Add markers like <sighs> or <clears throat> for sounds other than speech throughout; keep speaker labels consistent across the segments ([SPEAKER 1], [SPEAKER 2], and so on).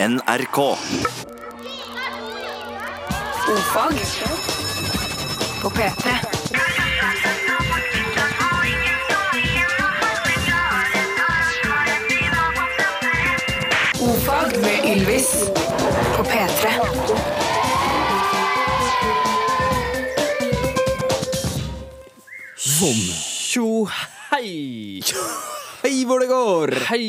[SPEAKER 1] NRK.
[SPEAKER 2] Oh
[SPEAKER 3] Ofag på P3. Ofag med Ylvis på P3.
[SPEAKER 2] Tjo hei!
[SPEAKER 4] Hei hvor det går!
[SPEAKER 2] Hei,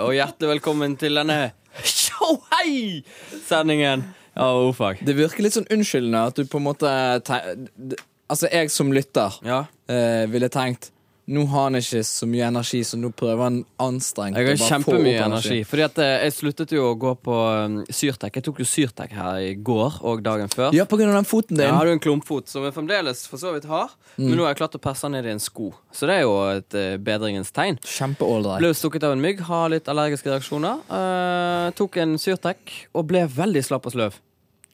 [SPEAKER 2] og hjertelig velkommen til denne Tjo hei-sendingen av Ofag.
[SPEAKER 4] Det virker litt sånn unnskyldende at du på en måte te- d- Altså, jeg som lytter
[SPEAKER 2] Ja.
[SPEAKER 4] eh, ville tenkt Nå har han ikke så mye energi, så nå prøver han anstrengt
[SPEAKER 2] Jeg
[SPEAKER 4] å
[SPEAKER 2] har
[SPEAKER 4] bare få opp
[SPEAKER 2] kjempemye energi. Fordi at eh, jeg sluttet jo å gå på um, Syrtek. Jeg tok jo Syrtek her i går og dagen før.
[SPEAKER 4] Ja, på grunn av den foten
[SPEAKER 2] Jeg
[SPEAKER 4] din.
[SPEAKER 2] hadde jo en klumpfot som jeg fremdeles for så vidt har,
[SPEAKER 4] Mm.
[SPEAKER 2] men nå har jeg klart å passe den ned i en sko. Så det er jo et eh, bedringens tegn.
[SPEAKER 4] Kjempeålreit.
[SPEAKER 2] Ble jo stukket av en mygg, har litt allergiske reaksjoner. eh, tok en Syrtek og ble veldig slapp og sløv.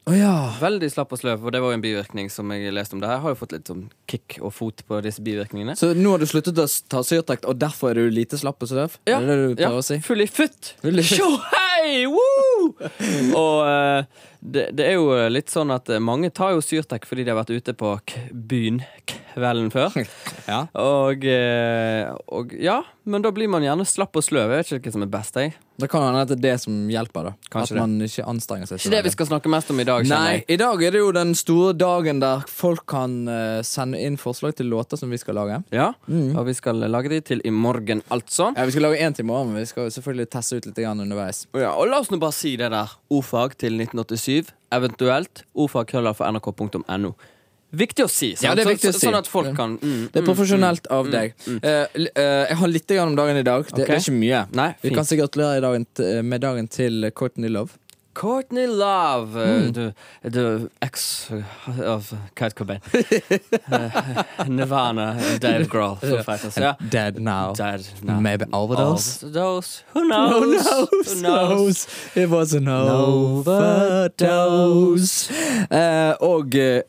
[SPEAKER 4] Å ja.
[SPEAKER 2] Veldig slapp og sløv, og det var jo en bivirkning som jeg leste om det her. Jeg har jo fått litt sånn kick og fot på disse bivirkningene.
[SPEAKER 4] Så nå har du sluttet å s- ta Syrtec, og derfor er du lite slapp og sløv? Er det det du prøver å si?
[SPEAKER 2] <laughs> Full i futt!
[SPEAKER 4] Full i futt.
[SPEAKER 2] Tjo, hei! Woo! og eh, det, det er jo litt sånn at eh, mange tar jo Syrtek fordi de har vært ute på k byen kvelden før.
[SPEAKER 4] Ja.
[SPEAKER 2] Og, eh, og ja, men da blir man gjerne slapp og sløv. Jeg vet ikke hva som er best. Jeg.
[SPEAKER 4] Da kan det hende at det er det som hjelper, da.
[SPEAKER 2] Kanskje det.
[SPEAKER 4] at man ikke anstrenger seg. så
[SPEAKER 2] Ikke det
[SPEAKER 4] veldig.
[SPEAKER 2] vi skal snakke mest om i dag. kjenner
[SPEAKER 4] Nei,
[SPEAKER 2] jeg.
[SPEAKER 4] i dag er det jo den store dagen der folk kan eh, sende inn forslag til låter som vi skal lage.
[SPEAKER 2] Ja, Og vi skal lage de til i morgen, altså.
[SPEAKER 4] Ja, Vi skal lage én til i morgen, men vi skal jo selvfølgelig teste ut litt grann underveis.
[SPEAKER 2] Ja, og la oss nå bare si det der. Ordfag til 1987, eventuelt ordfagkrøllalfa.nrk.no. Viktig å si, sant?
[SPEAKER 4] Ja, det er
[SPEAKER 2] Så-
[SPEAKER 4] viktig å
[SPEAKER 2] så-
[SPEAKER 4] si.
[SPEAKER 2] sånn at folk kan mm,
[SPEAKER 4] Det er profesjonelt av deg. Eh, li- eh, jeg har litt grann om dagen i dag. Det, det er
[SPEAKER 2] Ok.
[SPEAKER 4] ikke mye.
[SPEAKER 2] Nei,
[SPEAKER 4] vi
[SPEAKER 2] fint.
[SPEAKER 4] kan sikkert gratulere i dagen t- eh, med dagen til Courtney Love.
[SPEAKER 2] Courtney Love, eh,
[SPEAKER 4] Mm.
[SPEAKER 2] du, du ex av Kite
[SPEAKER 4] <laughs>
[SPEAKER 2] Cobain. Eh, Nirvana, Dave Grohl. Foo Fighters, ja.
[SPEAKER 4] Dead now.
[SPEAKER 2] Dead now.
[SPEAKER 4] Maybe overdose.
[SPEAKER 2] Overdose. Who knows? Who knows?
[SPEAKER 4] It was an overdose. Eh, og eh,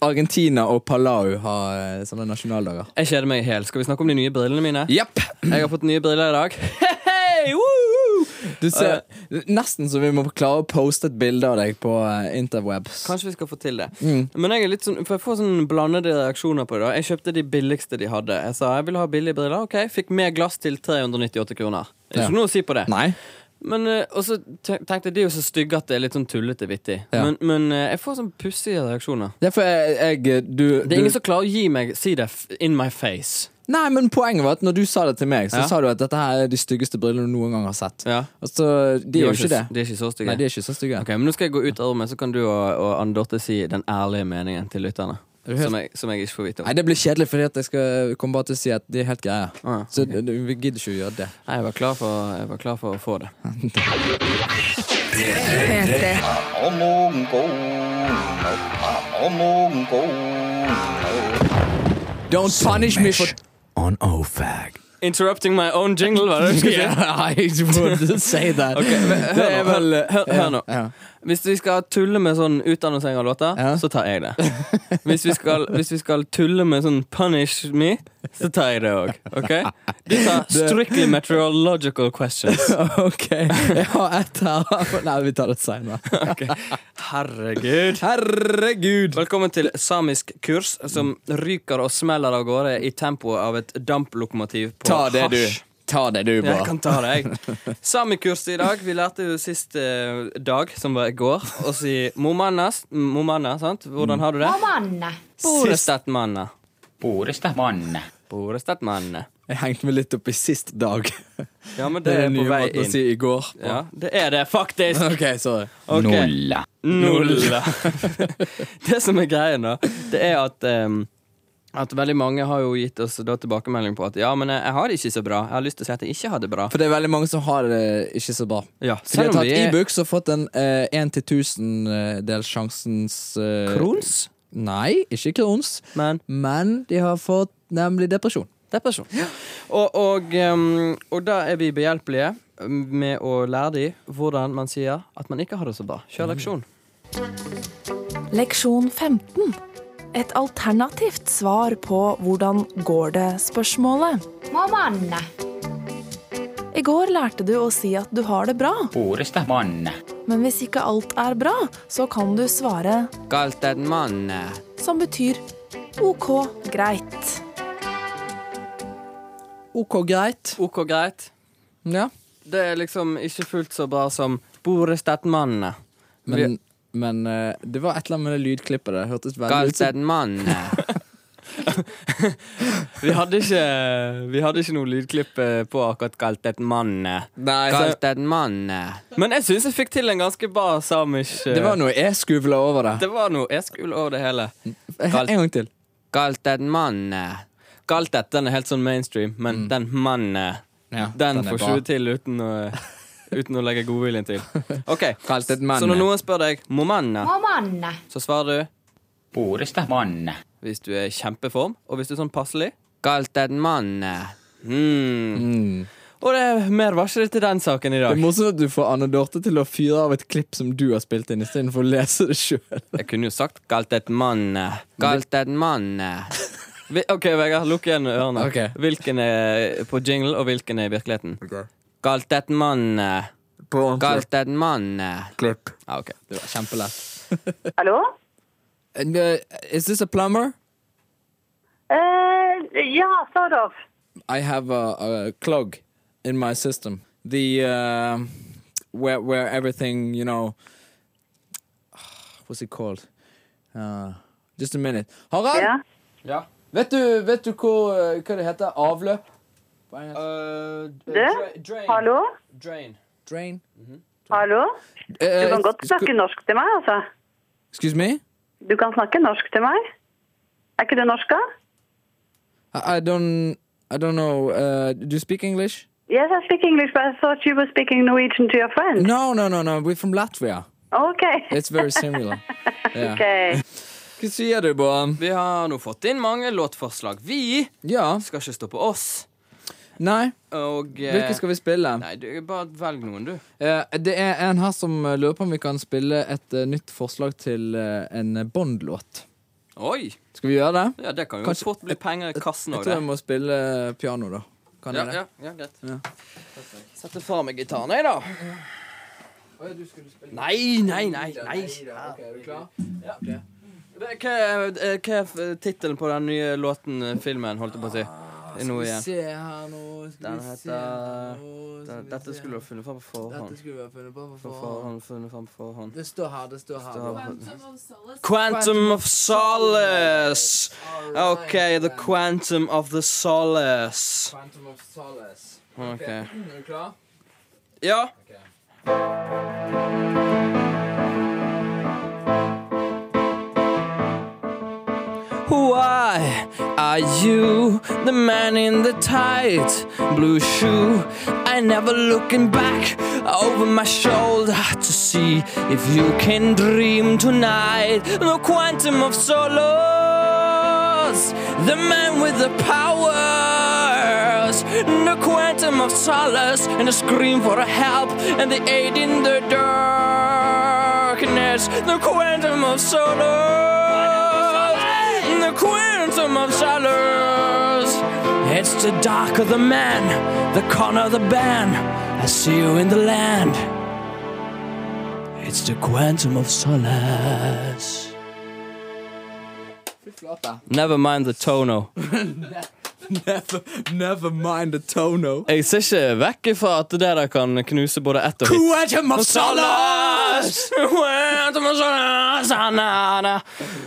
[SPEAKER 4] Argentina og Palau har eh, sånne nasjonaldager.
[SPEAKER 2] Jeg kjeder meg helt. Skal vi snakke om de nye brillene mine?
[SPEAKER 4] Jepp.
[SPEAKER 2] Jeg har fått nye briller i dag. <laughs> Hey, woo!
[SPEAKER 4] Du ser,
[SPEAKER 2] Eh.
[SPEAKER 4] nesten så vi må klare å poste et bilde av deg på eh, interwebs.
[SPEAKER 2] Kanskje vi skal få til det.
[SPEAKER 4] Mm.
[SPEAKER 2] Men jeg er litt sånn, for jeg får sånn blandede reaksjoner på det. da. Jeg kjøpte de billigste de hadde. Jeg sa jeg ville ha billige briller. Ok, fikk mer glass til 398 kroner. Det er
[SPEAKER 4] Ja.
[SPEAKER 2] ikke noe å si på det.
[SPEAKER 4] Nei.
[SPEAKER 2] Men, eh, og så te- tenkte jeg de er jo så stygge at det er litt sånn tullete vittig.
[SPEAKER 4] Ja.
[SPEAKER 2] Men, men eh, jeg får sånn pussige reaksjoner.
[SPEAKER 4] Det er for jeg, jeg du,
[SPEAKER 2] Det er
[SPEAKER 4] du,
[SPEAKER 2] ingen som klarer å gi meg si det f- in my face.
[SPEAKER 4] Nei, men poenget var at når du sa det til meg, så
[SPEAKER 2] Ja.
[SPEAKER 4] sa du at dette her er de styggeste brillene du noen gang har sett.
[SPEAKER 2] Ja.
[SPEAKER 4] Altså, de er jo ikke det.
[SPEAKER 2] s- De er ikke så stygge.
[SPEAKER 4] Nei, de er ikke så stygge.
[SPEAKER 2] Ok, men Nå skal jeg gå ut av rommet, så kan du og, og Anne Dorte si den ærlige meningen til lytterne.
[SPEAKER 4] Er du helt-
[SPEAKER 2] Som jeg, som jeg ikke får vite om.
[SPEAKER 4] Nei, det blir kjedelig, for jeg skal komme bare til å si at de er helt greie.
[SPEAKER 2] Ah, ja.
[SPEAKER 4] Så d- d- vi gidder ikke å gjøre det.
[SPEAKER 2] Nei, jeg var klar for, jeg var klar for å få det.
[SPEAKER 3] P3.
[SPEAKER 4] Don't punish me for
[SPEAKER 1] On OFAG.
[SPEAKER 2] Interrupting my own jingle, var det du
[SPEAKER 4] <laughs>
[SPEAKER 2] skulle si?
[SPEAKER 4] Yeah, I would say that.
[SPEAKER 2] Hør,
[SPEAKER 4] det er
[SPEAKER 2] nå,
[SPEAKER 4] vel
[SPEAKER 2] hør, hør, hør nå.
[SPEAKER 4] Ja.
[SPEAKER 2] Hvis vi skal tulle med sånn utdannelseng av låter,
[SPEAKER 4] Ja.
[SPEAKER 2] så tar jeg
[SPEAKER 4] <laughs>
[SPEAKER 2] det. Hvis vi, skal, hvis vi skal tulle med sånn punish me, så tar jeg det òg. Ok? Du tar strictly meteorological
[SPEAKER 4] <laughs>
[SPEAKER 2] questions.
[SPEAKER 4] OK. Jeg har ett her. Nei, vi tar det
[SPEAKER 2] <laughs>
[SPEAKER 4] seinere.
[SPEAKER 2] Ok. Herregud.
[SPEAKER 4] Herregud.
[SPEAKER 2] Velkommen til samisk kurs, som ryker og smeller av gårde i tempoet av et damplokomotiv på
[SPEAKER 4] Ta det, du.
[SPEAKER 2] hasj.
[SPEAKER 4] Ta det, du,
[SPEAKER 2] Jeg
[SPEAKER 4] bare.
[SPEAKER 2] kan ta det, jeg.
[SPEAKER 4] <laughs>
[SPEAKER 2] Samikurset i dag. Vi lærte jo sist eh, dag, som var i går, å si momannas. Momanna, sant?
[SPEAKER 4] Mm.
[SPEAKER 2] Hvordan har du det?
[SPEAKER 5] Manne.
[SPEAKER 2] Borestatmanna.
[SPEAKER 6] Puhdista manne.
[SPEAKER 2] Borestatmanne.
[SPEAKER 4] Jeg hengte meg litt opp i sist dag.
[SPEAKER 2] Ja, men
[SPEAKER 4] Det
[SPEAKER 2] det
[SPEAKER 4] er
[SPEAKER 2] er
[SPEAKER 4] den
[SPEAKER 2] på
[SPEAKER 4] nye
[SPEAKER 2] vei
[SPEAKER 4] måten å si
[SPEAKER 2] inn.
[SPEAKER 4] i går. på.
[SPEAKER 2] Ja, det er det faktisk.
[SPEAKER 4] <laughs> OK, sorry.
[SPEAKER 2] Ok.
[SPEAKER 6] Nulla.
[SPEAKER 2] Nulla. <laughs> det som er greia da, det er at em, at veldig mange har jo gitt oss da tilbakemelding på at ja, men jeg, jeg har det ikke så bra. Jeg har lyst til å si at jeg ikke har det bra.
[SPEAKER 4] For det er veldig mange som har det ikke så bra.
[SPEAKER 2] Ja,
[SPEAKER 4] Så de
[SPEAKER 2] selv
[SPEAKER 4] har
[SPEAKER 2] om
[SPEAKER 4] tatt
[SPEAKER 2] vi er
[SPEAKER 4] e-books og fått en eh, 1-1000-del sjansens eh,
[SPEAKER 2] Krons,
[SPEAKER 4] Nei, ikke krons.
[SPEAKER 2] men
[SPEAKER 4] Men de har fått nemlig depresjon.
[SPEAKER 2] Depresjon. Og, og, um, og da er vi behjelpelige med å lære dem hvordan man sier at man ikke har det så bra. Kjør leksjon.
[SPEAKER 4] Mm.
[SPEAKER 7] Leksjon 15. Et alternativt svar på hvordan går det-spørsmålet.
[SPEAKER 5] Må manne.
[SPEAKER 7] I går lærte du å si at du har det bra.
[SPEAKER 6] Puhdista manne.
[SPEAKER 7] Men hvis ikke alt er bra, så kan du svare
[SPEAKER 2] Galt en mann.
[SPEAKER 7] som betyr OK, greit.
[SPEAKER 4] OK, greit.
[SPEAKER 2] OK, greit.
[SPEAKER 4] Ja.
[SPEAKER 2] Det er liksom ikke fullt så bra som Borestadmann.
[SPEAKER 4] Men, men eh, det var et eller annet med det lydklippet der. Det hørtes veldig ut
[SPEAKER 2] Galt
[SPEAKER 4] som
[SPEAKER 2] en mann. <laughs> vi, hadde ikke, vi hadde ikke noe lydklipp eh, på akkurat 'Galt en mann'.
[SPEAKER 4] Nei, så-
[SPEAKER 2] Galt en mann. Men jeg syns jeg fikk til en ganske bra samisk eh,
[SPEAKER 4] Det var noe jeg skuvla over det.
[SPEAKER 2] det var noe e-skole over det hele.
[SPEAKER 4] En gang til.
[SPEAKER 2] Galt en mann. Galt et, den er helt sånn mainstream, men den mannen
[SPEAKER 4] Mm. Ja,
[SPEAKER 2] Den,
[SPEAKER 4] den er
[SPEAKER 2] får
[SPEAKER 4] bra.
[SPEAKER 2] 20 til uten å, <laughs> uten å legge godviljen
[SPEAKER 4] <laughs>
[SPEAKER 2] til. Ok,
[SPEAKER 4] Galt et mann.
[SPEAKER 2] Så når noen spør deg 'må manne',
[SPEAKER 8] Manne.
[SPEAKER 2] så svarer du
[SPEAKER 9] Borestadmann.
[SPEAKER 2] hvis du er i kjempeform, og hvis du er sånn passelig. Galt en mann. Mm.
[SPEAKER 4] Mm.
[SPEAKER 2] Og det er mer varsel til den saken i
[SPEAKER 4] Det er
[SPEAKER 2] dag.
[SPEAKER 4] morsomt at du får Anne Dorte til å fyre av et klipp som du har spilt inn, istedenfor å lese det sjøl.
[SPEAKER 2] Jeg kunne jo sagt 'galt et mann'. Galt et mann. eh."
[SPEAKER 4] <laughs>
[SPEAKER 2] Vi, OK, Vegard, lukk igjen ørene.
[SPEAKER 4] Ok.
[SPEAKER 2] Hvilken er på jingle, og hvilken er i virkeligheten? Galt et mann. Galt et mann. eh.
[SPEAKER 4] Klipp.
[SPEAKER 2] Ja, OK.
[SPEAKER 4] Det var kjempelett.
[SPEAKER 10] Hallo?
[SPEAKER 4] And, uh, is this a plumber?
[SPEAKER 10] Eh, ja, sort of.
[SPEAKER 4] I have a, a clog in my system. The uh, where where everything you know. <sighs> What's it called? Uh, just a minute. Harald,
[SPEAKER 10] Ja.
[SPEAKER 4] vet du vet du hvor, uh, hva det heter? Avløp? På engelsk.
[SPEAKER 10] Du? Hallo?
[SPEAKER 4] Eh, Drain.
[SPEAKER 10] Hallo? Du
[SPEAKER 4] Uh,
[SPEAKER 10] kan godt snakke norsk til meg, altså.
[SPEAKER 4] Excuse me.
[SPEAKER 10] Du kan snakke norsk til meg. Er ikke det norsk, da?
[SPEAKER 4] I, I don't I don't know. Uh, do you speak English?
[SPEAKER 10] Yes, I speak English, but I thought you were speaking Norwegian to your friend.
[SPEAKER 4] No, no, no, no. We're from Latvia.
[SPEAKER 10] Okay.
[SPEAKER 4] It's very
[SPEAKER 10] <laughs>
[SPEAKER 4] similar. Yeah.
[SPEAKER 10] Okay.
[SPEAKER 4] Hva sier du, Bård?
[SPEAKER 2] Vi har nå fått inn mange låtforslag. Vi
[SPEAKER 4] Ja.
[SPEAKER 2] skal ikke stå på oss.
[SPEAKER 4] Nei.
[SPEAKER 2] Og eh,
[SPEAKER 4] Hvilke skal vi spille?
[SPEAKER 2] Nei, du, bare velg noen, du.
[SPEAKER 4] Eh, det er en her som eh, lurer på om vi kan spille et eh, nytt forslag til eh, en eh, Bond-låt.
[SPEAKER 2] Oi!
[SPEAKER 4] Skal vi gjøre det?
[SPEAKER 2] Ja, det kan jo
[SPEAKER 4] Kanskje-
[SPEAKER 2] fort bli penger i kassen
[SPEAKER 4] Jeg
[SPEAKER 2] òg,
[SPEAKER 4] tror jeg
[SPEAKER 2] det.
[SPEAKER 4] må spille eh, piano, da. Kan
[SPEAKER 2] Ja,
[SPEAKER 4] jeg det?
[SPEAKER 2] ja, ja, greit. Sette fra meg gitaren, jeg, da. Nei, nei, nei. nei. Det- Hva er, eh, hva er f- tittelen på den nye låten, eh, filmen, holdt jeg på å si? Nå
[SPEAKER 4] Ah, Skal vi
[SPEAKER 2] igjen.
[SPEAKER 4] se her nå Skal
[SPEAKER 2] Den
[SPEAKER 4] vi se
[SPEAKER 2] heter-
[SPEAKER 4] her nå, skal vi
[SPEAKER 2] Dette
[SPEAKER 4] se.
[SPEAKER 2] skulle du ha funnet fram på
[SPEAKER 4] Dette
[SPEAKER 2] forhånd.
[SPEAKER 4] skulle vi ha funnet på
[SPEAKER 2] På
[SPEAKER 4] for forhånd.
[SPEAKER 2] forhånd, funnet fram på forhånd.
[SPEAKER 4] Det står her, det står her.
[SPEAKER 2] Står her. Quantum of Solace. OK, The Quantum of the Solace.
[SPEAKER 4] Phantom of Solace.
[SPEAKER 2] Ok.
[SPEAKER 4] <clears throat> Er du klar?
[SPEAKER 2] Ja. Why are you the man in the tight blue shoe? I never looking back over my shoulder to see if you can dream tonight. The quantum of solos, the man with the powers, the quantum of solace, and the scream for help, and the aid in the darkness, the quantum of solace in the quantum of solace. It's the dark of the man, the corner of the band. I see you in the land. It's the quantum of solace.
[SPEAKER 4] Fy flate.
[SPEAKER 2] Never mind the tono.
[SPEAKER 4] Never, never mind the tono.
[SPEAKER 2] Jeg ser ikke vekk ifra at det der kan knuse både ett og hit.
[SPEAKER 4] Quantum of
[SPEAKER 2] Solace! Quantum of solace! Ah, na, na.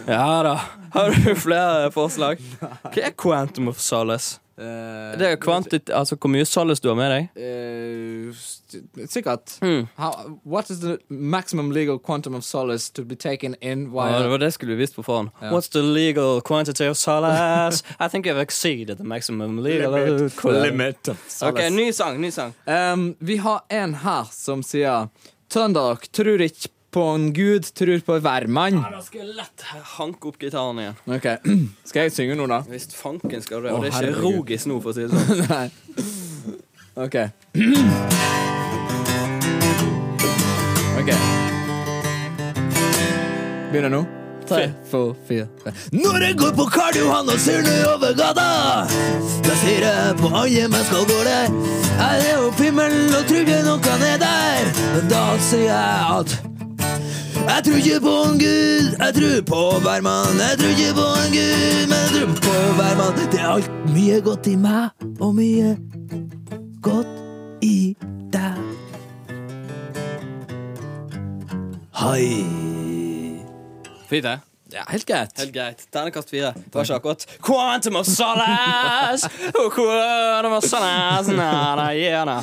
[SPEAKER 2] Ja da. Har du flere forslag? Hva er quantum of solace? Det er jo kvantit... Altså hvor mye solace du har med deg?
[SPEAKER 4] Eh, st- sikkert.
[SPEAKER 2] Mm.
[SPEAKER 4] How, what is the maximum legal quantum of solace to be taken in
[SPEAKER 2] Ja, det
[SPEAKER 4] while
[SPEAKER 2] var det skulle vi visst på forhånd.
[SPEAKER 4] Ja.
[SPEAKER 2] What's the legal quantity of solace? I think I've exceeded the maximum legal
[SPEAKER 4] of
[SPEAKER 2] Ok, ny sang, ny sang.
[SPEAKER 4] Um, vi har en her som sier Trøndelag tror ikke på en gud, tror på hvermann.
[SPEAKER 2] Da skal jeg lett hanke opp gitaren igjen.
[SPEAKER 4] Ok, <clears throat> Skal jeg synge nå, da? <laughs>
[SPEAKER 2] Hvis fanken skal det, og
[SPEAKER 4] Å,
[SPEAKER 2] det er ikke
[SPEAKER 4] herregud.
[SPEAKER 2] rogis nå, for å si det sånn.
[SPEAKER 4] Nei. Ok. <clears throat> Ok. Begynner nå. Tre, to, fire. fem. Når jeg går på Karl Johan og ser ned over gata, da sier jeg på alle mennesker går der. Jeg er oppe i himmelen og tror det noen er der.
[SPEAKER 11] meg, da sier jeg at jeg tror ikke på en gud, jeg tror på hvermann. Jeg tror ikke på en gud, men jeg tror på hvermann. Det er alt mye godt i meg, og mye godt i deg. Hei.
[SPEAKER 2] Fint, det.
[SPEAKER 4] Ja, helt greit.
[SPEAKER 2] Helt greit. Ternekast fire. Det var ikke akkurat
[SPEAKER 11] Quantum of
[SPEAKER 2] <laughs>
[SPEAKER 11] solace! Oh, quantum of solace! Na, na, yeah, na.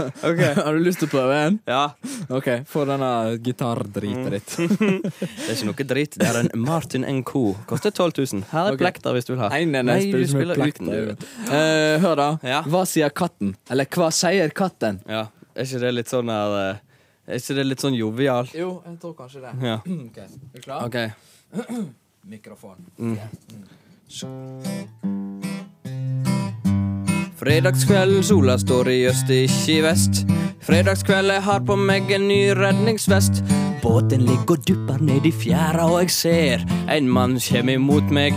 [SPEAKER 4] <laughs> Har du lyst til å prøve en?
[SPEAKER 2] Ja,
[SPEAKER 4] Ok, få denne gitardritet ditt.
[SPEAKER 2] Mm. det er ikke noe dritt. Det er en Martin NK. Koster 12 000. Her er
[SPEAKER 4] Ok.
[SPEAKER 2] plekter hvis du vil ha.
[SPEAKER 4] Nei, nei, nei, jeg
[SPEAKER 2] du
[SPEAKER 4] spiller ikke
[SPEAKER 2] spiller uten,
[SPEAKER 4] med plekter,
[SPEAKER 2] du.
[SPEAKER 4] jeg
[SPEAKER 2] vet
[SPEAKER 4] vet.
[SPEAKER 2] du.
[SPEAKER 4] Eh, hør, da.
[SPEAKER 2] Ja.
[SPEAKER 4] Hva sier katten? Eller hva sier katten?
[SPEAKER 2] Ja. Er ikke det litt sånn her eh, Er ikke det litt sånn jovial?
[SPEAKER 4] Jo, jeg tror kanskje det.
[SPEAKER 2] Ja.
[SPEAKER 4] <clears throat> Ok, Er du klar?
[SPEAKER 2] OK.
[SPEAKER 4] Mikrofon.
[SPEAKER 2] Mm. Fredagskveld, sola står i øst, ikke i vest. Fredagskveld, jeg har på meg en ny redningsvest. Båten ligger og dupper ned i fjæra, og jeg ser en mann kjem imot meg.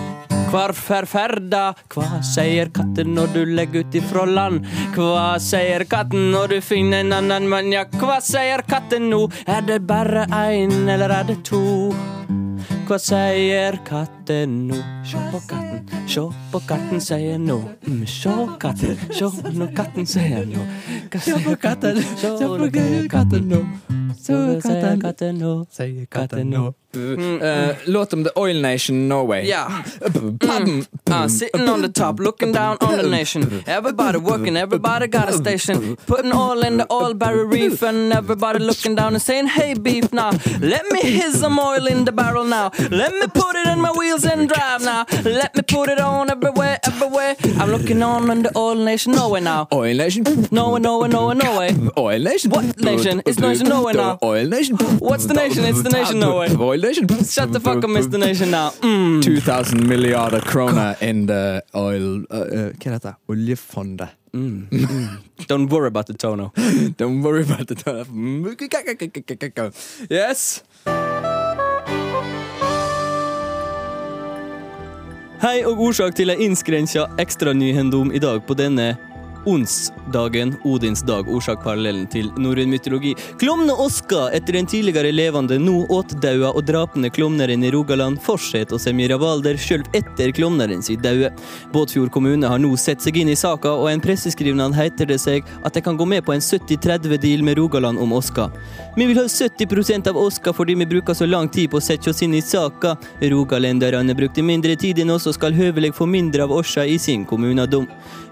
[SPEAKER 2] Hvar ferferda, hva sier katten når du legger ut ifra land? Hva sier katten når du finner en annen mann? Ja, hva sier katten nå? Er det bare én, eller er det to? Hva sier katten nå? Sjå på katten, sjå på katten, sier nå. Mm, sjå katten, sjå nå katten, sier nå. Hva sier katten, sjå på katten nå. Sjå katten, katten nå, sier katten nå.
[SPEAKER 4] Eh, låt om The Oil Nation Norway.
[SPEAKER 2] Yeah, uh, sitting on the top, looking down on the nation. Everybody working, everybody got a station. Putting oil in the oil barrel reef, and everybody looking down and saying, Hey, beef, now let me hit some oil in the barrel now. Let me put it in my wheels and drive now. Let me put it on everywhere, everywhere. I'm looking on in the oil nation, Norway now.
[SPEAKER 4] Oil Nation.
[SPEAKER 2] Norway, Norway, Norway, Norway.
[SPEAKER 4] Oil Nation.
[SPEAKER 2] What nation? It's nation Norway now.
[SPEAKER 4] Oil Nation.
[SPEAKER 2] What's the nation? It's the nation Norway.
[SPEAKER 4] Oil Nation.
[SPEAKER 2] Shut the fuck up, Mr. Nation now. Mm.
[SPEAKER 4] 2000 milliarder kroner in the oil uh, uh, Hva er dette? Oljefondet.
[SPEAKER 2] Don't worry about the tono.
[SPEAKER 4] <laughs> Don't worry about the telephone. Yes!
[SPEAKER 2] Hei og årsak til ei innskrenka ekstranyhendom i dag på denne onsdagen, Odins dag, årsak parallellen til norrøn mytologi. Klomne Oskar, etter en tidligere levende, nå åtdaua og drapende klomneren i Rogaland, fortsetter å semje rabalder sjølv etter klomneren sin daue. Båtfjord kommune har nå sett seg inn i saka, og i en presseskrivnad heter det seg at de kan gå med på en 70-30-deal med Rogaland om Oskar. Vi vil ha 70 av Oskar fordi vi bruker så lang tid på å sette oss inn i saka. Rogalenderne brukte mindre tid enn oss og skal høvelig få mindre av Orsa i sin kommunedom.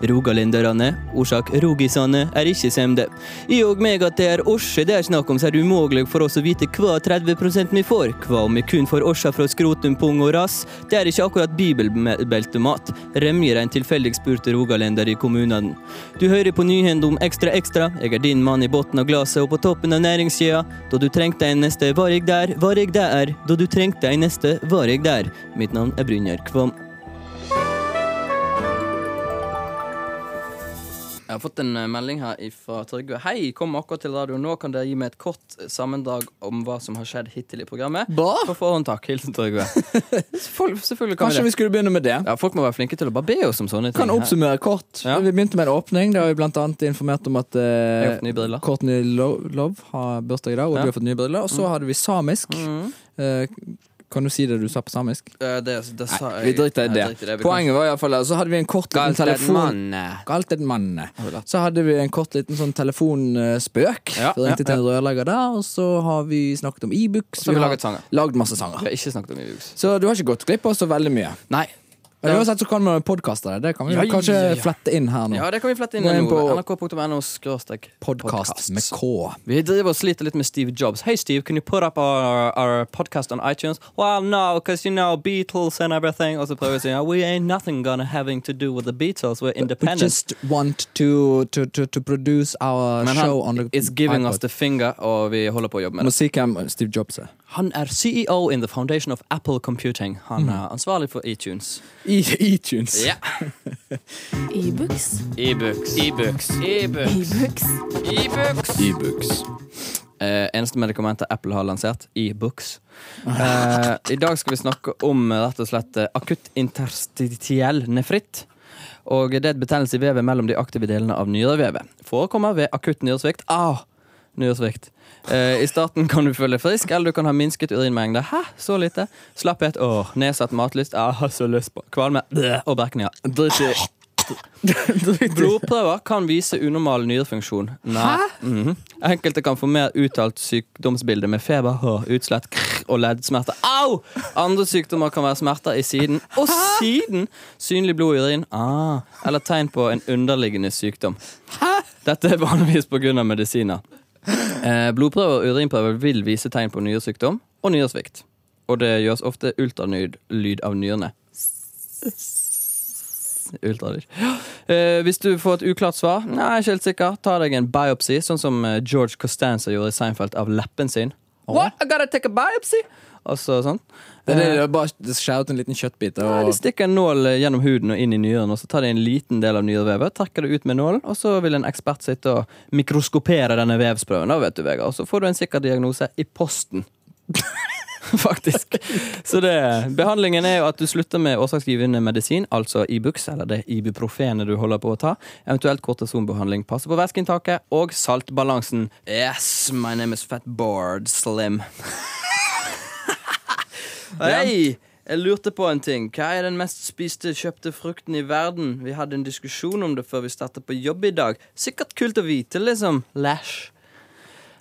[SPEAKER 2] Rogalenderne, orsak rogisane, er ikke semde. I og meg at det er Orse det er snakk om, så er det umulig for oss å vite hva 30 vi får. Hva om vi kun får Orsa fra skrotum, pung og rass? Det er ikke akkurat bibelbeltemat, remjer en tilfeldig spurt rogalender i kommunen. Du hører på nyhend om Ekstra Ekstra, jeg er din mann i bunnen av glasset og på toppen av næringskjeda. Da du trengte en neste, var jeg der, var jeg der. Da du trengte en neste, var jeg der. Mitt navn er Brynjar Kvam. Jeg har fått en eh, melding her fra Trygve. Hei, kom akkurat til radioen nå. Kan dere gi meg et kort eh, sammendrag om hva som har skjedd hittil i programmet?
[SPEAKER 4] <laughs> Bra!
[SPEAKER 2] På forhånd takk. Hilsen
[SPEAKER 4] <laughs>
[SPEAKER 2] Trygve. Selvfølgelig, selvfølgelig kan
[SPEAKER 4] Kanskje
[SPEAKER 2] vi
[SPEAKER 4] vi
[SPEAKER 2] det.
[SPEAKER 4] skulle begynne med det?
[SPEAKER 2] Ja, folk må være flinke til å bare be oss om sånne ting.
[SPEAKER 4] Kan
[SPEAKER 2] her.
[SPEAKER 4] oppsummere kort.
[SPEAKER 2] Ja.
[SPEAKER 4] Vi begynte med en åpning. Da har vi blant annet informert om at
[SPEAKER 2] Jeg
[SPEAKER 4] eh,
[SPEAKER 2] har fått nye briller.
[SPEAKER 4] Courtney Lo- Love har bursdag i dag, og
[SPEAKER 2] Ja. Mm.
[SPEAKER 4] du har fått nye briller. Og så hadde vi samisk. Eh, kan du si det du sa på samisk?
[SPEAKER 2] Eh, Det, det sa
[SPEAKER 4] Nei,
[SPEAKER 2] jeg.
[SPEAKER 4] vi driter i
[SPEAKER 2] Jeg
[SPEAKER 4] det.
[SPEAKER 2] driter i det. Vi kan-
[SPEAKER 4] Poenget var iallfall at så hadde vi en kort liten telefon Galt en mann.
[SPEAKER 2] da.
[SPEAKER 4] Så hadde vi en kort liten sånn telefonspøk.
[SPEAKER 2] Ja,
[SPEAKER 4] Vi ringte
[SPEAKER 2] ja,
[SPEAKER 4] til en rørlegger der, og så har vi snakket om e-books.
[SPEAKER 2] så har vi
[SPEAKER 4] har
[SPEAKER 2] laget sanger.
[SPEAKER 4] lagd masse sanger.
[SPEAKER 2] Vi har ikke snakket om Ibux.
[SPEAKER 4] Så du har ikke gått glipp av så veldig mye.
[SPEAKER 2] Nei.
[SPEAKER 4] Men
[SPEAKER 2] Ja.
[SPEAKER 4] uansett så kan man podkaste det. Det kan vi
[SPEAKER 2] Ja,
[SPEAKER 4] kanskje
[SPEAKER 2] ja, ja.
[SPEAKER 4] flette inn her nå.
[SPEAKER 2] Ja, det kan vi flette inn
[SPEAKER 4] Gå inn
[SPEAKER 2] nå.
[SPEAKER 4] på-
[SPEAKER 2] NRK.no skråstrek
[SPEAKER 4] Podkast med K.
[SPEAKER 2] Vi driver og sliter litt med Steve Jobs. Hey Steve, can you put up our, our podcast on iTunes? Well, no, because you know Beatles and everything. Og så prøver vi å si "Yeah, we ain't nothing gonna having to do with the Beatles. We're
[SPEAKER 4] We
[SPEAKER 2] independent.
[SPEAKER 4] just want to, to, to, to produce our
[SPEAKER 2] Men
[SPEAKER 4] show on the
[SPEAKER 2] han is giving us
[SPEAKER 4] iPod.
[SPEAKER 2] the finger, og vi holder på å jobbe med det.
[SPEAKER 4] Må si hvem Steve Jobs er. <laughs>
[SPEAKER 2] Han er CEO in the Foundation of Apple Computing. Han
[SPEAKER 4] Mm.
[SPEAKER 2] er ansvarlig for iTunes.
[SPEAKER 4] E-tunes.
[SPEAKER 2] Ja.
[SPEAKER 7] E-books?
[SPEAKER 2] E-books.
[SPEAKER 7] E-books?
[SPEAKER 4] E-books.
[SPEAKER 2] Eh, eneste medikamentet Apple har lansert, e-books. Eh, I dag skal vi snakke om eh, rett og slett eh, akutt interstitiell nefritt. Og det er et betennelse i vevet mellom de aktive delene av nyrevevet. Forekommer ved akutt nyresvikt. Ah, nyårssvikt. Eh, I starten kan du føle deg frisk, eller du kan ha minsket urinmengde. Hæ, så lite? Slapphet, åh, nedsatt matlyst, ah, har så lyst på kvalme bleh, og Ah. berkninger. Drit i. Blodprøver kan vise unormal nyrefunksjon. Nei. Mhm. Enkelte kan få mer uttalt sykdomsbilde med feber, hår, utslett krr, og leddsmerter. Au! Andre sykdommer kan være smerter i siden og siden. Synlig blod i urin. Ah, eller tegn på en underliggende sykdom. Dette er vanligvis pga. medisiner. Eh, blodprøver og urinprøver vil vise tegn på nyresykdom og nyresvikt. Og det gjøres ofte ultralyd lyd av nyrene. Ultralyd. Eh, hvis du får et uklart svar, nei, ikke helt sikker, ta deg en biopsi, sånn som eh, George Costanza gjorde i Seinfeld av leppen sin. What? I gotta take a biopsy! Og så sånn.
[SPEAKER 4] Det er det, det er bare skjær ut en liten kjøttbit.
[SPEAKER 2] Ja,
[SPEAKER 4] Og,
[SPEAKER 2] de stikker en nål eh, gjennom huden og inn i nyren, og så tar de en liten del av nyrevevet, trekker det ut med nålen, og så vil en ekspert sitte og mikroskopere denne vevsprøven, da, vet du, Vegard. Og så får du en sikker diagnose i posten. <laughs> Faktisk. Så det, behandlingen er jo at du slutter med årsaksgivende medisin, altså Ibux, eller det ibuprofenet du holder på å ta, eventuelt kortasonbehandling, passe på væskeinntaket og saltbalansen. Yes, my name is Fat Board Slim. Hei! Jeg lurte på en ting. Hva er den mest spiste kjøpte frukten i verden? Vi hadde en diskusjon om det før vi startet på jobb i dag. Sikkert kult å vite, liksom. Lash.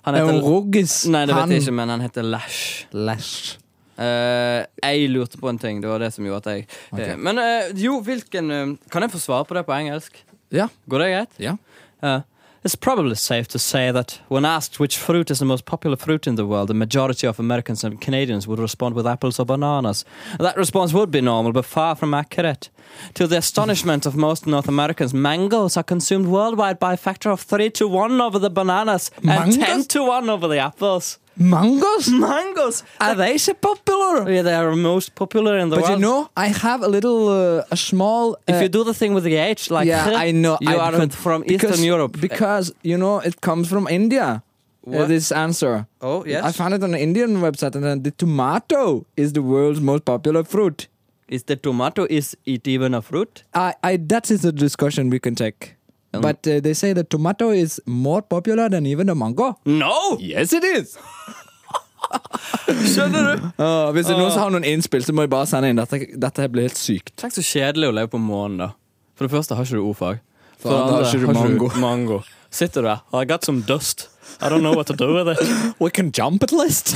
[SPEAKER 2] Han
[SPEAKER 4] er hun ruggis?
[SPEAKER 2] Nei, det
[SPEAKER 4] Han-
[SPEAKER 2] vet jeg ikke, men han heter Lash.
[SPEAKER 4] Lash.
[SPEAKER 2] Eh, jeg lurte på en ting. Det var det som gjorde at jeg eh, Men eh, jo, hvilken eh, Kan jeg få svare på det på engelsk?
[SPEAKER 4] Ja.
[SPEAKER 2] Går det greit?
[SPEAKER 4] ja.
[SPEAKER 2] Uh, it's probably safe to say that when asked which fruit is the most popular fruit in the world, the majority of Americans and Canadians would respond with apples or bananas. That response would be normal, but far from accurate. To the astonishment of most North Americans, mangoes are consumed worldwide by a factor of 3 to 1 over the bananas
[SPEAKER 4] Mangoes?
[SPEAKER 2] and 10 to 1 over the apples.
[SPEAKER 4] Mangoes?
[SPEAKER 2] Mangoes!
[SPEAKER 4] Are they so popular?
[SPEAKER 2] Yeah, they are most popular in the
[SPEAKER 4] But you
[SPEAKER 2] world.
[SPEAKER 4] know, I have a little, uh, a small.
[SPEAKER 2] if
[SPEAKER 4] uh,
[SPEAKER 2] you do the thing with the H, like <laughs>
[SPEAKER 4] yeah, I know.
[SPEAKER 2] you
[SPEAKER 4] I
[SPEAKER 2] are
[SPEAKER 4] don't-
[SPEAKER 2] from
[SPEAKER 4] because-
[SPEAKER 2] Eastern Europe.
[SPEAKER 4] Because you know it comes from India. uh,
[SPEAKER 2] What?
[SPEAKER 4] this answer.
[SPEAKER 2] oh yes,
[SPEAKER 4] I found it on an Indian website, and then the tomato is the world's most popular fruit.
[SPEAKER 2] is the tomato is it even a fruit?
[SPEAKER 4] I, I that is a discussion we can take.
[SPEAKER 2] Um,
[SPEAKER 4] But uh, they say the tomato is more popular than even the mango.
[SPEAKER 2] No!
[SPEAKER 4] Yes, it <laughs> is. <laughs>
[SPEAKER 2] Skjønner du? Ah.
[SPEAKER 4] hvis det er noen som har noen innspill, så må jeg bare sende inn. Dette, dette her blir helt sykt.
[SPEAKER 2] Tenk så kjedelig å leve på månen, da. For det første har ikke du ordfag. For
[SPEAKER 4] det andre har ikke du mango.
[SPEAKER 2] Sitter du der? I got some dust. I don't know what to do with it.
[SPEAKER 4] <laughs> We can jump at least.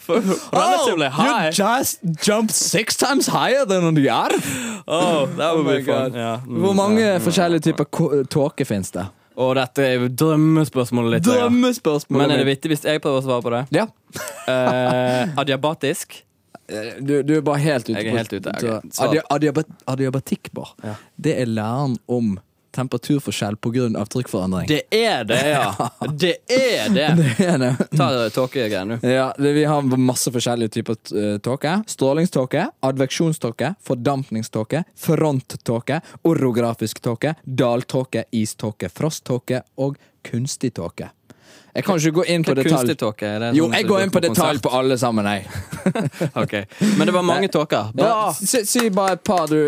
[SPEAKER 2] For, relatively high.
[SPEAKER 4] just jumped six times higher than on the earth.
[SPEAKER 2] Oh, that would be fun. Ja. Mm.
[SPEAKER 4] Hvor mange forskjellige typer ko- tåke finnes det?
[SPEAKER 2] Og dette er jo drømmespørsmålet ditt. Vegard.
[SPEAKER 4] Drømmespørsmålet
[SPEAKER 2] Men er det
[SPEAKER 4] mitt.
[SPEAKER 2] vittig hvis jeg prøver å svare på det?
[SPEAKER 4] Ja.
[SPEAKER 2] Eh, adiabatisk?
[SPEAKER 4] Eh, Du, du er bare helt ute.
[SPEAKER 2] Jeg er
[SPEAKER 4] på-
[SPEAKER 2] helt ute, ok.
[SPEAKER 4] så-
[SPEAKER 2] Svar.
[SPEAKER 4] Adia- adiabat- Adiabatikk, bare. Det er læren om temperaturforskjell pga. trykkforandring.
[SPEAKER 2] Det er det,
[SPEAKER 4] <laughs>
[SPEAKER 2] ja. Det er det.
[SPEAKER 4] Det er det.
[SPEAKER 2] Ta eh, tåkegreiene, du.
[SPEAKER 4] Ja, det, Vi har masse forskjellige typer eh, tåke. Strålingståke, adveksjonståke, fordampningståke, fronttåke, orografisk tåke, daltåke, iståke, frosttåke og kunstig tåke. Jeg kan ikke gå inn på
[SPEAKER 2] Hva er
[SPEAKER 4] detalj.
[SPEAKER 2] kunstig tåke? Er det
[SPEAKER 4] Jo,
[SPEAKER 2] sånn
[SPEAKER 4] jeg
[SPEAKER 2] som
[SPEAKER 4] går
[SPEAKER 2] du
[SPEAKER 4] inn på detalj
[SPEAKER 2] konsert?
[SPEAKER 4] på alle sammen, jeg.
[SPEAKER 2] <laughs> Ok. Men det var mange tåker.
[SPEAKER 4] Ja,
[SPEAKER 2] Bra!
[SPEAKER 4] si, si bare et par, du,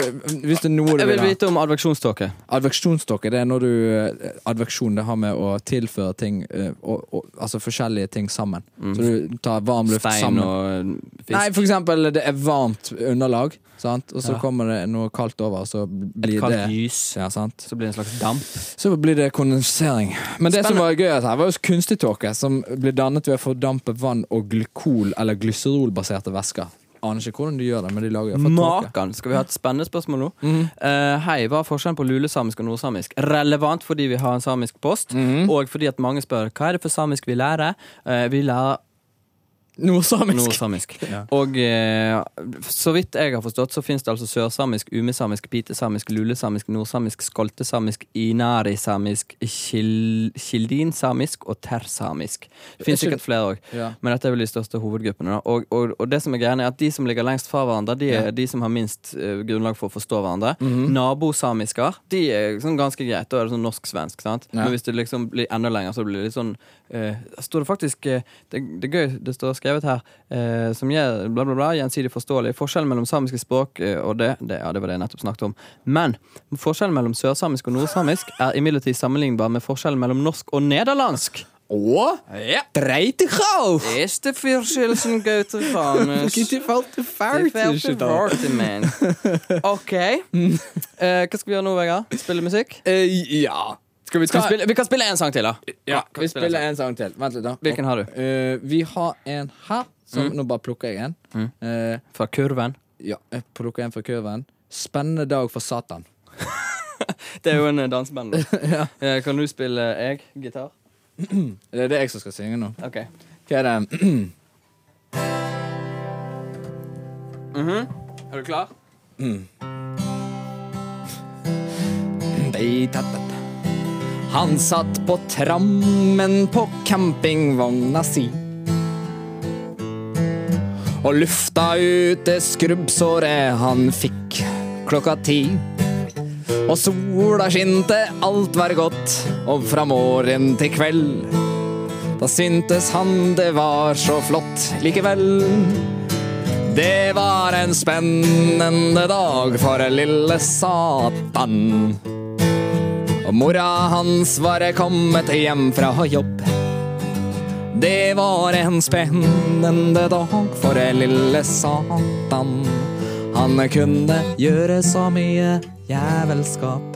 [SPEAKER 4] hvis det er noe du
[SPEAKER 2] Jeg
[SPEAKER 4] vil
[SPEAKER 2] vil
[SPEAKER 4] ha.
[SPEAKER 2] vite om adveksjonståke.
[SPEAKER 4] Adveksjonståke, det er når du eh, Adveksjon, det har med å tilføre ting eh, og, og, Altså forskjellige ting sammen. Så du tar varm luft
[SPEAKER 2] Mm. Stein
[SPEAKER 4] sammen.
[SPEAKER 2] og fisk.
[SPEAKER 4] Nei, for eksempel det er varmt underlag, sant? og så
[SPEAKER 2] Ja.
[SPEAKER 4] kommer det noe kaldt over, og så blir
[SPEAKER 2] kaldt
[SPEAKER 4] det
[SPEAKER 2] gys.
[SPEAKER 4] Ja, sant?
[SPEAKER 2] Så blir det en slags damp.
[SPEAKER 4] Så blir det kondensering. Men det som var gøy altså, her, var jo kunstig tåke, som blir dannet ved å fordampe vann og glykol- eller glyserolbaserte væsker. Aner ikke hvordan de gjør det, men de lager iallfall tåke.
[SPEAKER 2] Makan! Skal vi ha et spennende spørsmål nå? Eh, hei, hva er forskjellen på lulesamisk og nordsamisk? Relevant fordi vi har en samisk post, og fordi at mange spør hva er det for samisk vi lærer? Eh, vi lærer
[SPEAKER 4] Nordsamisk.
[SPEAKER 2] <laughs> nordsamisk. Og eh, så vidt jeg har forstått, så fins det altså sørsamisk, umesamisk, pitesamisk, lulesamisk, nordsamisk, skoltesamisk, inarisamisk, kil kildinsamisk og tersamisk. Det fins
[SPEAKER 4] Er ikke-
[SPEAKER 2] sikkert flere òg,
[SPEAKER 4] Ja.
[SPEAKER 2] men dette er vel de største hovedgruppene. Da. Og, og, og det som er greia, er at de som ligger lengst fra hverandre, de er de som har minst eh, grunnlag for å forstå hverandre.
[SPEAKER 4] Mhm.
[SPEAKER 2] Nabosamisker, de er sånn ganske greit. Da er det sånn norsk-svensk, sant.
[SPEAKER 4] Ja.
[SPEAKER 2] Men hvis det liksom blir enda lenger, så blir det litt sånn eh, Står det faktisk eh, det, det er gøy, det står skrevet her, eh, som gjør bla, bla, bla, gjensidig forståelig. Forskjellen mellom samiske språk eh, og det, det Ja, det var det jeg nettopp snakket om. Men forskjellen mellom sørsamisk og nordsamisk er imidlertid sammenlignbar med forskjellen mellom norsk og nederlandsk.
[SPEAKER 4] Og
[SPEAKER 11] Ja.
[SPEAKER 4] dreitegrav!
[SPEAKER 11] Eerste verschil zijn geutergames.
[SPEAKER 4] Ikke falt til fælt, ikke da.
[SPEAKER 11] man. OK. Eh, hva skal vi gjøre nå, Vegard? Spille musikk?
[SPEAKER 4] Eh, ja. Skal vi
[SPEAKER 11] Skal
[SPEAKER 4] ta
[SPEAKER 11] vi, spille, vi kan spille en sang til, da.
[SPEAKER 4] Ja,
[SPEAKER 11] kan
[SPEAKER 4] vi spiller en sang til. Vent litt, da.
[SPEAKER 11] Hvilken har du?
[SPEAKER 4] Eh, vi har en her. Som, Nå bare plukker jeg en. Eh,
[SPEAKER 11] Mm. Fra Kurven.
[SPEAKER 4] ja, jeg plukker en fra kurven. Spennende dag for Satan.
[SPEAKER 2] Det er jo en eh, danseband.
[SPEAKER 11] <laughs>
[SPEAKER 2] da. Eh, Kan du spille jeg gitar?
[SPEAKER 4] Det er det jeg som skal synge nå.
[SPEAKER 2] OK.
[SPEAKER 4] Hva er det?
[SPEAKER 2] Er du klar?
[SPEAKER 4] Dei-tatt-tatt. Han satt på trammen på campingvogna si. Og lufta ut det skrubbsåret han fikk klokka ti. Og sola skinte, alt var godt, og fra morgen til kveld. Da syntes han det var så flott likevel. Det var en spennende dag for lille Satan. Og mora hans var kommet hjem fra jobb. Det var en spennende dag for lille Satan. Han kunne gjøre så mye jævelskap.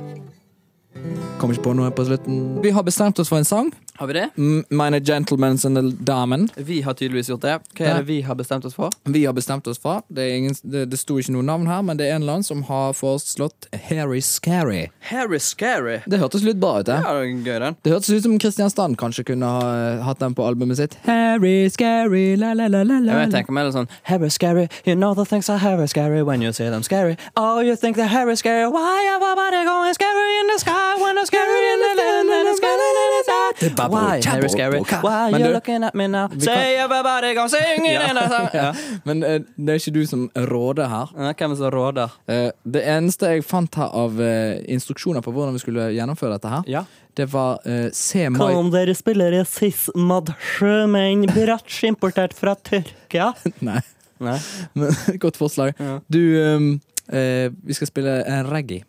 [SPEAKER 4] Kommer ikke på noe på slutten. Vi har bestemt oss for en sang.
[SPEAKER 2] Har vi det?
[SPEAKER 4] M- Mine gentlemen and damen.
[SPEAKER 2] Vi har tydeligvis gjort det. Hva
[SPEAKER 4] Ja.
[SPEAKER 2] er det vi har bestemt oss for?
[SPEAKER 4] Vi har bestemt oss for Det, er ingen, det, det sto ikke noe navn her, men det er en eller annen som har foreslått Harry Scary.
[SPEAKER 2] Harry Scary.
[SPEAKER 4] Det hørtes litt bra ut, det.
[SPEAKER 2] Ja, det er gøy, den.
[SPEAKER 4] Det hørtes ut som Kristiansand kanskje kunne ha eh, hatt den på albumet sitt. Harry, scary, la la la la la
[SPEAKER 2] Jeg vet, jeg tenker meg litt sånn Harry Scary, you know the things are Harry Scary when you see them scary. Oh, you think they're Harry Scary, why everybody going scary in the sky when they're scary in the land and they're scary in the sky? Why Harry Scary, why
[SPEAKER 4] Men
[SPEAKER 2] you
[SPEAKER 4] du-
[SPEAKER 2] looking at me now?
[SPEAKER 4] Vi kan-
[SPEAKER 2] Say everybody going singing in the
[SPEAKER 4] <laughs>
[SPEAKER 2] sky. <laughs> Ja. sånn.
[SPEAKER 4] Men eh, det er ikke du som råder her.
[SPEAKER 2] Ja, Hvem som råder?
[SPEAKER 4] Eh, det eneste jeg fant her av eh, instruksjoner på hvordan vi skulle gjennomføre dette her,
[SPEAKER 2] Ja.
[SPEAKER 4] det var eh, se my...
[SPEAKER 12] Kan dere spillere sismad sjømenn, bratsj importert fra Tyrkia?
[SPEAKER 4] Nei,
[SPEAKER 2] Nei.
[SPEAKER 4] <laughs> men godt forslag. Du, eh, eh, vi skal spille en reggae.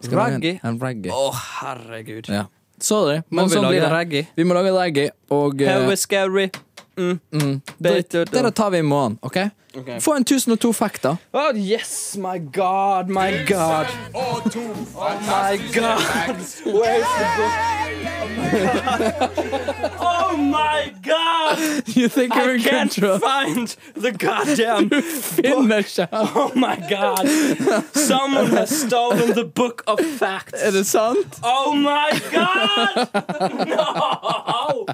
[SPEAKER 4] Vi skal lage
[SPEAKER 2] Reggae?
[SPEAKER 4] En, en reggae.
[SPEAKER 2] Å, herregud.
[SPEAKER 4] Ja. Sorry,
[SPEAKER 2] Må
[SPEAKER 4] men
[SPEAKER 2] vi
[SPEAKER 4] sånn
[SPEAKER 2] lage
[SPEAKER 4] blir det.
[SPEAKER 2] reggae?
[SPEAKER 4] Vi må lage en reggae, og eh,
[SPEAKER 2] Harry Scary. Mm.
[SPEAKER 4] det, det, det tar vi i morgen, OK? Få en 1002 fakta.
[SPEAKER 2] Oh, yes, my god, my god. Oh, my god. Where's the book? Oh my god.
[SPEAKER 4] You think
[SPEAKER 2] I can't find the goddamn book.
[SPEAKER 4] <laughs>
[SPEAKER 2] Oh my god. Someone has stolen the book of facts.
[SPEAKER 4] Er det sant?
[SPEAKER 2] Oh my
[SPEAKER 4] <laughs>
[SPEAKER 2] god! No!
[SPEAKER 4] Oh,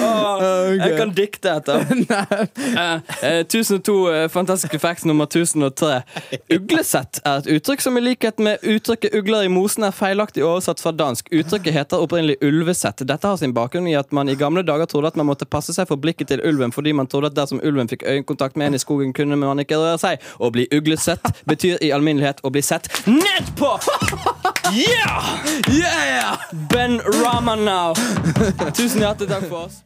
[SPEAKER 2] Åh, Jeg kan dikte etter. Eh, eh, 1002 eh, fantastiske facts nummer 1003. Uglesett er et uttrykk som i likhet med uttrykket 'ugler i mosen' er feilaktig oversatt fra dansk. Uttrykket heter opprinnelig 'ulvesett'. Dette har sin bakgrunn i at man i gamle dager trodde at man måtte passe seg for blikket til ulven, fordi man trodde at dersom ulven fikk øyekontakt med en i skogen, kunne man ikke røre seg. Å bli uglesett betyr i alminnelighet å bli sett ned på! <laughs> Yeah! Ben Ramanow. Tusen hjertelig takk for oss.